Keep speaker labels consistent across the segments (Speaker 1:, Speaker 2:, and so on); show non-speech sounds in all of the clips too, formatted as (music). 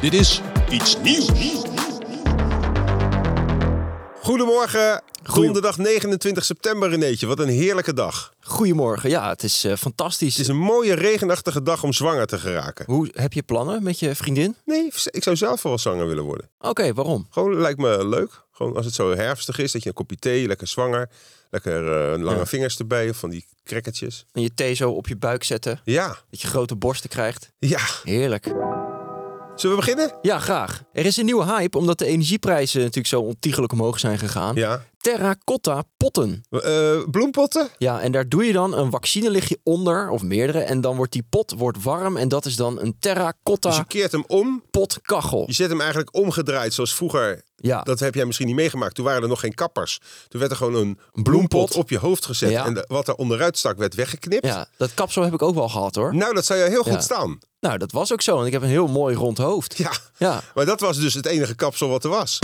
Speaker 1: Dit is iets nieuws.
Speaker 2: Goedemorgen, donderdag 29 september Renéetje. Wat een heerlijke dag.
Speaker 3: Goedemorgen, ja, het is eh, fantastisch.
Speaker 2: Het is een mooie regenachtige dag om zwanger te geraken.
Speaker 3: Hoe heb je plannen met je vriendin?
Speaker 2: Nee, ik zou zelf wel zwanger willen worden.
Speaker 3: Oké, waarom?
Speaker 2: Gewoon lijkt me leuk. Gewoon als het zo herfstig is, dat je een kopje thee, lekker zwanger. Lekker eh, lange
Speaker 3: Ja.
Speaker 2: vingers erbij, of van die crackertjes.
Speaker 3: En je thee zo op je buik zetten,
Speaker 2: Ja,
Speaker 3: dat je grote borsten krijgt.
Speaker 2: ja.
Speaker 3: Heerlijk.
Speaker 2: Zullen we beginnen?
Speaker 3: Ja, graag. Er is een nieuwe hype omdat de energieprijzen natuurlijk zo ontiegelijk omhoog zijn gegaan.
Speaker 2: Ja.
Speaker 3: Terracotta potten.
Speaker 2: Eh, bloempotten?
Speaker 3: Ja, en daar doe je dan een vaccinelichtje onder, of meerdere, en dan wordt die pot wordt warm en dat is dan een
Speaker 2: Dus je
Speaker 3: terracotta
Speaker 2: keert hem om.
Speaker 3: potkachel.
Speaker 2: Je zet hem eigenlijk omgedraaid, zoals vroeger.
Speaker 3: Ja.
Speaker 2: Dat heb jij misschien niet meegemaakt. Toen waren er nog geen kappers. Toen werd er gewoon een bloempot
Speaker 3: bloempot.
Speaker 2: op je hoofd gezet.
Speaker 3: Ja.
Speaker 2: En de- wat er onderuit stak, werd weggeknipt.
Speaker 3: Ja, dat kapsel heb ik ook wel gehad hoor.
Speaker 2: Nou, dat zou jou heel goed
Speaker 3: Ja.
Speaker 2: staan.
Speaker 3: Nou, dat was ook zo, en ik heb een heel mooi rond hoofd.
Speaker 2: Ja.
Speaker 3: Ja.
Speaker 2: Maar dat was dus het enige kapsel wat er was.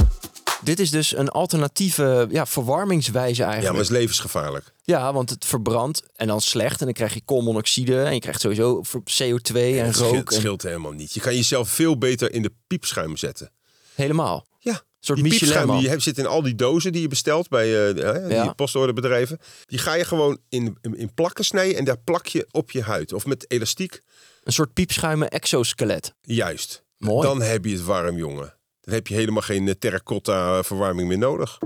Speaker 3: Dit is dus een alternatieve ja, verwarmingswijze
Speaker 2: Ja, maar
Speaker 3: eigenlijk.
Speaker 2: het is levensgevaarlijk.
Speaker 3: Ja, want het verbrandt en dan slecht. En dan krijg je koolmonoxide en je krijgt sowieso ver- CO2 en
Speaker 2: het scheelt,
Speaker 3: rook.
Speaker 2: het
Speaker 3: En
Speaker 2: scheelt helemaal niet. Je kan jezelf veel beter in de piepschuim zetten.
Speaker 3: helemaal.
Speaker 2: Ja. Een
Speaker 3: soort
Speaker 2: die piepschuim
Speaker 3: Michelin-man.
Speaker 2: die je hebt, zit in al die dozen die je bestelt bij eh de- hè, die
Speaker 3: Ja.
Speaker 2: postorderbedrijven. Die ga je gewoon in, in, in plakken snijden en daar plak je op je huid. Of met elastiek.
Speaker 3: Een soort piepschuimen exoskelet.
Speaker 2: Juist.
Speaker 3: Mooi.
Speaker 2: Dan heb je het warm, jongen. Dan heb je helemaal geen eh, terracotta verwarming meer nodig.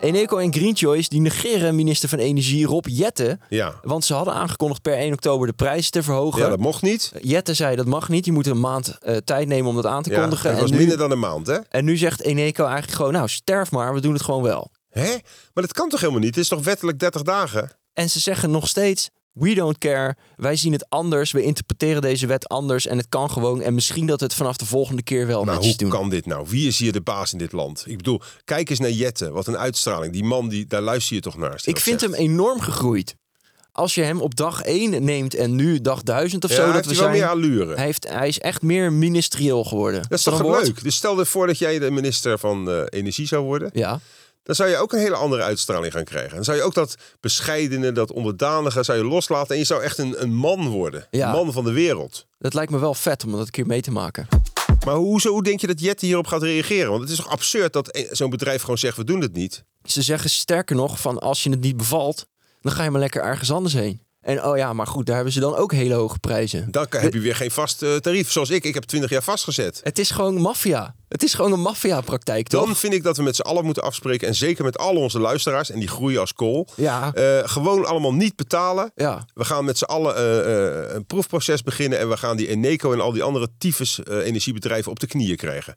Speaker 3: Eneco en Greenchoice die negeren minister van Energie Rob Jette.
Speaker 2: Ja.
Speaker 3: Want ze hadden aangekondigd per 1 oktober de prijzen te verhogen.
Speaker 2: Ja, dat mocht niet.
Speaker 3: Jette zei dat mag niet. Je moet een maand eh, tijd nemen om dat aan te
Speaker 2: Ja, dat
Speaker 3: kondigen.
Speaker 2: was
Speaker 3: en,
Speaker 2: minder
Speaker 3: nu,
Speaker 2: dan een maand, hè?
Speaker 3: en nu zegt Eneco eigenlijk gewoon nou sterf maar. We doen het gewoon wel.
Speaker 2: Hè? Maar dat kan toch helemaal niet? Het is toch wettelijk 30 dagen?
Speaker 3: En ze zeggen nog steeds: We don't care. Wij zien het anders. We interpreteren deze wet anders. En het kan gewoon. En misschien dat het vanaf de volgende keer wel
Speaker 2: Maar
Speaker 3: netjes
Speaker 2: hoe
Speaker 3: doen.
Speaker 2: kan dit nou? Wie is hier de baas in dit land? Ik bedoel, kijk eens naar Jette. Wat een uitstraling. Die man, die, daar luister je toch naar. als die
Speaker 3: Ik
Speaker 2: dat
Speaker 3: vind hem
Speaker 2: zegt.
Speaker 3: enorm gegroeid. Als je hem op dag 1 neemt en nu dag 1000 of
Speaker 2: Ja,
Speaker 3: zo, dat
Speaker 2: heeft
Speaker 3: we
Speaker 2: hij wel
Speaker 3: zijn.
Speaker 2: meer allure.
Speaker 3: hij, heeft, hij is echt meer ministerieel geworden.
Speaker 2: Dat is
Speaker 3: dat
Speaker 2: toch
Speaker 3: een woord?
Speaker 2: leuk? Dus stel je voor dat jij de minister van eh, Energie zou worden.
Speaker 3: Ja.
Speaker 2: Dan zou je ook een hele andere uitstraling gaan krijgen. Dan zou je ook dat bescheidene, dat onderdanige zou je loslaten. En je zou echt een, een man worden.
Speaker 3: Ja.
Speaker 2: Een man van de wereld.
Speaker 3: Dat lijkt me wel vet om dat een keer mee te maken.
Speaker 2: Maar hoezo hoe denk je dat Jette hierop gaat reageren? Want het is toch absurd dat eh, zo'n bedrijf gewoon zegt, we doen het niet.
Speaker 3: Ze zeggen sterker nog: van als je het niet bevalt, dan ga je maar lekker ergens anders heen. En oh ja, maar goed, daar hebben ze dan ook hele hoge prijzen.
Speaker 2: Dan heb je weer geen vast eh, tarief. Zoals ik, ik heb 20 jaar vastgezet.
Speaker 3: Het is gewoon maffia. Het is gewoon een maffia-praktijk, toch?
Speaker 2: Dan vind ik dat we met z'n allen moeten afspreken. En zeker met al onze luisteraars. En die groeien als kool.
Speaker 3: Ja.
Speaker 2: eh, gewoon allemaal niet betalen.
Speaker 3: Ja.
Speaker 2: We gaan met z'n allen eh, eh, een proefproces beginnen. En we gaan die Eneco en al die andere tyfus eh, energiebedrijven op de knieën krijgen.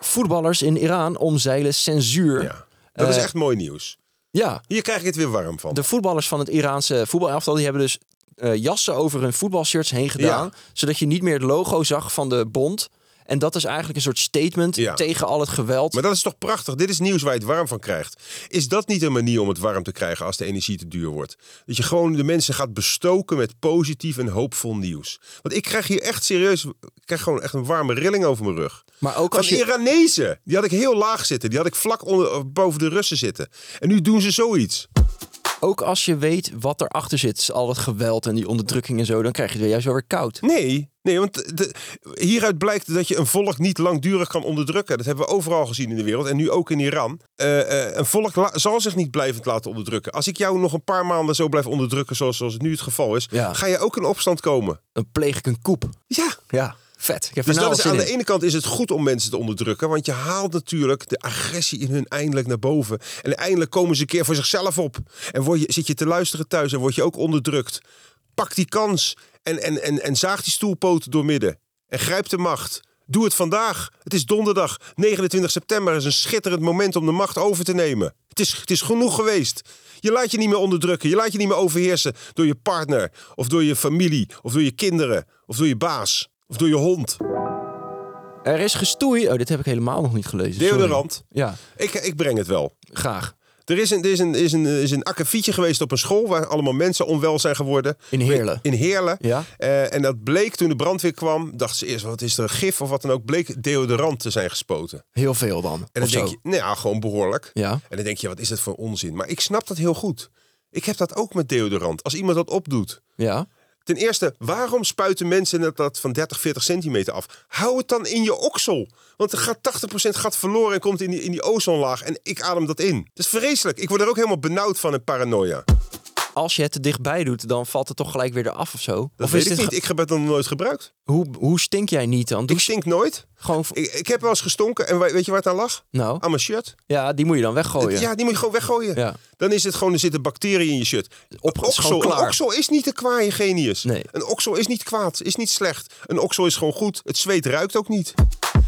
Speaker 3: Voetballers in Iran omzeilen censuur.
Speaker 2: Ja. Dat is echt mooi nieuws.
Speaker 3: Ja,
Speaker 2: Hier krijg ik het weer warm van.
Speaker 3: Eh, de voetballers van het Iraanse voetbalelftal die hebben dus eh, jassen over hun voetbalshirts heen gedaan. Zodat je niet meer het logo zag van de bond. En dat is eigenlijk een soort statement
Speaker 2: Ja.
Speaker 3: tegen al het geweld.
Speaker 2: Maar dat is toch prachtig? Dit is nieuws waar je het warm van krijgt. Is dat niet een manier om het warm te krijgen als de energie te duur wordt? Dat je gewoon de mensen gaat bestoken met positief en hoopvol nieuws. Want ik krijg hier echt serieus, ik krijg gewoon echt een warme rilling over mijn rug.
Speaker 3: Maar ook
Speaker 2: Van
Speaker 3: als je-
Speaker 2: Iranezen, die had ik heel laag zitten. Die had ik vlak onder, of boven de Russen zitten. En nu doen ze zoiets.
Speaker 3: Ook als je weet wat erachter zit, al het geweld en die onderdrukking en zo, dan krijg je het weer juist wel weer koud.
Speaker 2: Nee, nee want de- hieruit blijkt dat je een volk niet langdurig kan onderdrukken. Dat hebben we overal gezien in de wereld en nu ook in Iran. Eh, eh, een volk la- zal zich niet blijvend laten onderdrukken. Als ik jou nog een paar maanden zo blijf onderdrukken zoals, zoals het nu het geval is,
Speaker 3: Ja.
Speaker 2: ga je ook in opstand komen.
Speaker 3: Dan pleeg ik een koep.
Speaker 2: Ja.
Speaker 3: Ja, vet. Ik heb
Speaker 2: Dus
Speaker 3: er nou
Speaker 2: dat
Speaker 3: al
Speaker 2: is,
Speaker 3: zin
Speaker 2: aan
Speaker 3: in.
Speaker 2: de ene kant is het goed om mensen te onderdrukken, want je haalt natuurlijk de agressie in hun eindelijk naar boven. En eindelijk komen ze een keer voor zichzelf op. En word je, zit je te luisteren thuis en word je ook onderdrukt. Pak die kans en, en, en, en zaag die stoelpoten doormidden. En grijp de macht. Doe het vandaag. Het is donderdag, 29 september. is een schitterend moment om de macht over te nemen. Het is, het is genoeg geweest. Je laat je niet meer onderdrukken. Je laat je niet meer overheersen door je partner. Of door je familie. Of door je kinderen. Of door je baas. Of door je hond.
Speaker 3: Er is gestoei. Oh, dit heb ik helemaal nog niet gelezen. sorry.
Speaker 2: Deodorant.
Speaker 3: Ja,
Speaker 2: Ik, ik breng het wel.
Speaker 3: graag.
Speaker 2: Er is een, er is een, is een, is een akkefietje geweest op een school waar allemaal mensen onwel zijn geworden.
Speaker 3: In Heerlen.
Speaker 2: In Heerlen.
Speaker 3: Ja.
Speaker 2: Eh, en dat bleek toen de brandweer kwam, dachten ze eerst, wat is er, gif of wat dan ook, bleek deodorant te zijn gespoten.
Speaker 3: Heel veel dan.
Speaker 2: En dan
Speaker 3: of zo.
Speaker 2: denk je, nou ja, gewoon behoorlijk.
Speaker 3: Ja.
Speaker 2: En dan denk je, wat is dat voor onzin? Maar ik snap dat heel goed. Ik heb dat ook met deodorant. Als iemand dat opdoet.
Speaker 3: Ja.
Speaker 2: Ten eerste, waarom spuiten mensen dat, dat van 30, 40 centimeter af? Hou het dan in je oksel. Want er gaat 80% gaat verloren en komt in die, in die ozonlaag. En ik adem dat in. Dat is vreselijk. Ik word er ook helemaal benauwd van en paranoia.
Speaker 3: Als je het te dichtbij doet, dan valt het toch gelijk weer eraf of zo.
Speaker 2: Dat
Speaker 3: of
Speaker 2: weet
Speaker 3: is
Speaker 2: ik
Speaker 3: dit
Speaker 2: niet.
Speaker 3: ge-
Speaker 2: Ik heb het nog nooit gebruikt.
Speaker 3: Hoe, hoe stink jij niet dan? Doe
Speaker 2: Ik stink nooit.
Speaker 3: gewoon...
Speaker 2: Ik, ik heb wel eens gestonken. En we- weet je waar het aan lag?
Speaker 3: Nou,
Speaker 2: Aan mijn shirt.
Speaker 3: Oh, ja, die moet je dan weggooien.
Speaker 2: Ja, die moet je gewoon weggooien.
Speaker 3: Ja.
Speaker 2: Dan is het gewoon, er zitten bacteriën in je shirt.
Speaker 3: Op-
Speaker 2: Een
Speaker 3: is gewoon
Speaker 2: oksel, een
Speaker 3: klaar.
Speaker 2: oksel is niet de kwaaie genius.
Speaker 3: Nee.
Speaker 2: Een oksel is niet kwaad, is niet slecht. Een oksel is gewoon goed. Het zweet ruikt ook niet.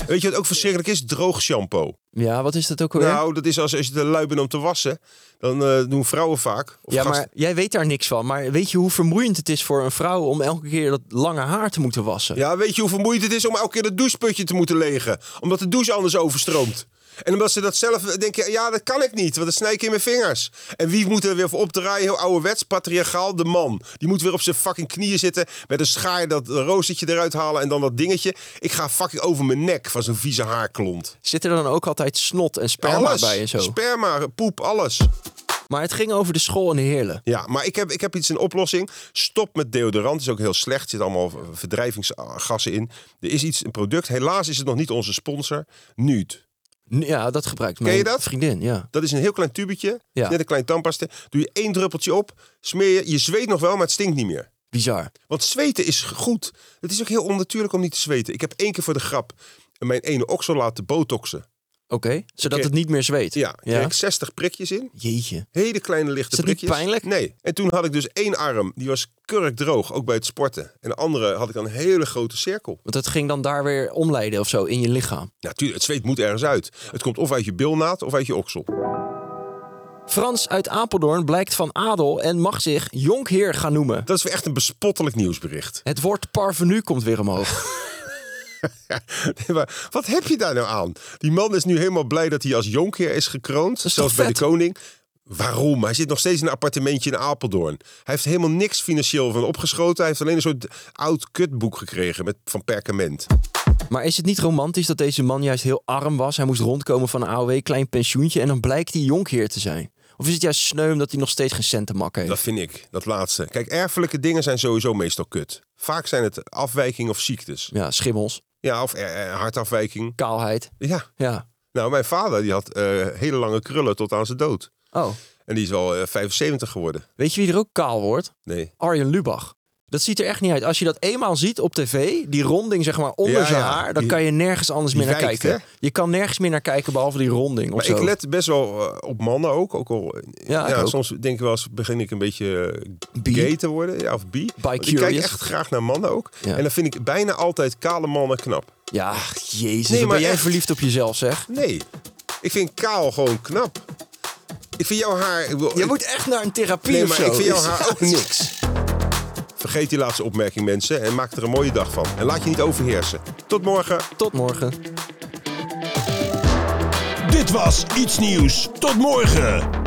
Speaker 2: Weet je wat ook verschrikkelijk is? Droog shampoo.
Speaker 3: Oh, Ja, wat is dat ook alweer?
Speaker 2: Nou, dat is als, als je te lui bent om te wassen. Dan eh, doen vrouwen vaak. Of
Speaker 3: ja,
Speaker 2: gasten-
Speaker 3: maar jij weet daar niks van. Maar weet je hoe vermoeiend het is voor een vrouw om elke keer dat lange haar te moeten wassen?
Speaker 2: Ja, weet je hoe vermoeiend het is om elke keer dat doucheputje te moeten legen? Omdat de douche anders overstroomt. En omdat ze dat zelf denken, ja, dat kan ik niet, want dat snij ik in mijn vingers. En wie moet er weer voor opdraaien? Heel ouderwets, patriarchaal, de man. Die moet weer op zijn fucking knieën zitten, met een schaar dat roostertje eruit halen en dan dat dingetje. Ik ga fucking over mijn nek van zo'n vieze haarklont.
Speaker 3: Zit er dan ook altijd snot en sperma
Speaker 2: Alles.
Speaker 3: bij en zo?
Speaker 2: Sperma, poep, alles.
Speaker 3: Maar het ging over de school in Heerlen.
Speaker 2: Ja, maar ik heb, ik heb iets een oplossing. Stop met deodorant. is ook heel slecht. Er zitten allemaal verdrijvingsgassen in. Er is iets, een product. Helaas is het nog niet onze sponsor. Nude.
Speaker 3: N- Ja, dat gebruikt
Speaker 2: je
Speaker 3: mijn
Speaker 2: dat?
Speaker 3: vriendin, ja.
Speaker 2: Dat is een heel klein tubetje.
Speaker 3: Ja.
Speaker 2: Net een klein tandpaste. Doe je één druppeltje op. Smeer je. Je zweet nog wel, maar het stinkt niet meer.
Speaker 3: Bizar.
Speaker 2: Want zweten is goed. Het is ook heel onnatuurlijk om niet te zweten. Ik heb één keer voor de grap mijn ene oksel laten botoxen.
Speaker 3: Oké, zodat
Speaker 2: Oké.
Speaker 3: het niet meer zweet.
Speaker 2: Ja, kreeg ik 60 prikjes in.
Speaker 3: Jeetje.
Speaker 2: Hele kleine lichte
Speaker 3: Is dat niet
Speaker 2: prikjes.
Speaker 3: pijnlijk?
Speaker 2: Nee. En toen had ik dus één arm, die was kurkdroog, ook bij het sporten. En de andere had ik dan een hele grote cirkel.
Speaker 3: Want dat ging dan daar weer omleiden of zo in je lichaam.
Speaker 2: Natuurlijk, het zweet moet ergens uit. Het komt of uit je bilnaad of uit je oksel.
Speaker 3: Frans uit Apeldoorn blijkt van adel en mag zich jonkheer gaan noemen.
Speaker 2: Dat is weer echt een bespottelijk nieuwsbericht. (laughs)
Speaker 3: Het woord parvenu komt weer omhoog.
Speaker 2: Nee, maar wat heb je daar nou aan? Die man is nu helemaal blij dat hij als jonkheer is gekroond.
Speaker 3: is
Speaker 2: zelfs
Speaker 3: toch
Speaker 2: bij de
Speaker 3: vet?
Speaker 2: koning. Waarom? Hij zit nog steeds in een appartementje in Apeldoorn. Hij heeft helemaal niks financieel van opgeschoten. Hij heeft alleen een soort oud kutboek gekregen met, van perkament.
Speaker 3: Maar is het niet romantisch dat deze man juist heel arm was? Hij moest rondkomen van een AOW, klein pensioentje en dan blijkt hij jonkheer te zijn. Of is het juist sneu omdat hij nog steeds geen cent te makken
Speaker 2: Dat
Speaker 3: heeft?
Speaker 2: vind ik, dat laatste. Kijk, erfelijke dingen zijn sowieso meestal kut. Vaak zijn het afwijking of ziektes.
Speaker 3: Ja, schimmels,
Speaker 2: Ja, of eh, eh, hartafwijking.
Speaker 3: kaalheid.
Speaker 2: Ja.
Speaker 3: Ja.
Speaker 2: Nou, mijn vader die had eh, hele lange krullen tot aan zijn dood.
Speaker 3: Oh,
Speaker 2: En die is wel eh, 75 geworden.
Speaker 3: weet je wie er ook kaal wordt?
Speaker 2: Nee.
Speaker 3: Arjen Lubach. Dat ziet er echt niet uit. Als je dat eenmaal ziet op tv, die ronding zeg maar onder
Speaker 2: Ja,
Speaker 3: zijn
Speaker 2: ja.
Speaker 3: haar, dan
Speaker 2: Die-
Speaker 3: kan je nergens anders meer naar
Speaker 2: wijkt,
Speaker 3: kijken.
Speaker 2: hè?
Speaker 3: Je kan nergens meer naar kijken behalve die ronding of
Speaker 2: Maar
Speaker 3: zo.
Speaker 2: ik let best wel eh, op mannen ook. ook al, eh, ja,
Speaker 3: Ja, ik ook.
Speaker 2: soms denk ik wel eens begin ik een beetje eh,
Speaker 3: Bi.
Speaker 2: gay te worden. Ja, of bi. Want ik kijk
Speaker 3: curious.
Speaker 2: echt graag naar mannen ook.
Speaker 3: Ja.
Speaker 2: En dan vind ik bijna altijd kale mannen knap.
Speaker 3: Ja, jezus,
Speaker 2: Nee,
Speaker 3: wat
Speaker 2: maar
Speaker 3: ben jij
Speaker 2: echt.
Speaker 3: verliefd op jezelf zeg.
Speaker 2: Nee. Ik vind kaal gewoon knap. Ik vind jouw haar... Ik bedoel,
Speaker 3: Je
Speaker 2: ik-
Speaker 3: moet echt naar een therapie
Speaker 2: Nee,
Speaker 3: of
Speaker 2: maar
Speaker 3: zo.
Speaker 2: ik vind jouw
Speaker 3: Is-
Speaker 2: haar ook niks. Vergeet die laatste opmerking, mensen. En maak er een mooie dag van. En laat je niet overheersen. Tot morgen.
Speaker 3: Tot morgen.
Speaker 1: Dit was Iets Nieuws. Tot morgen.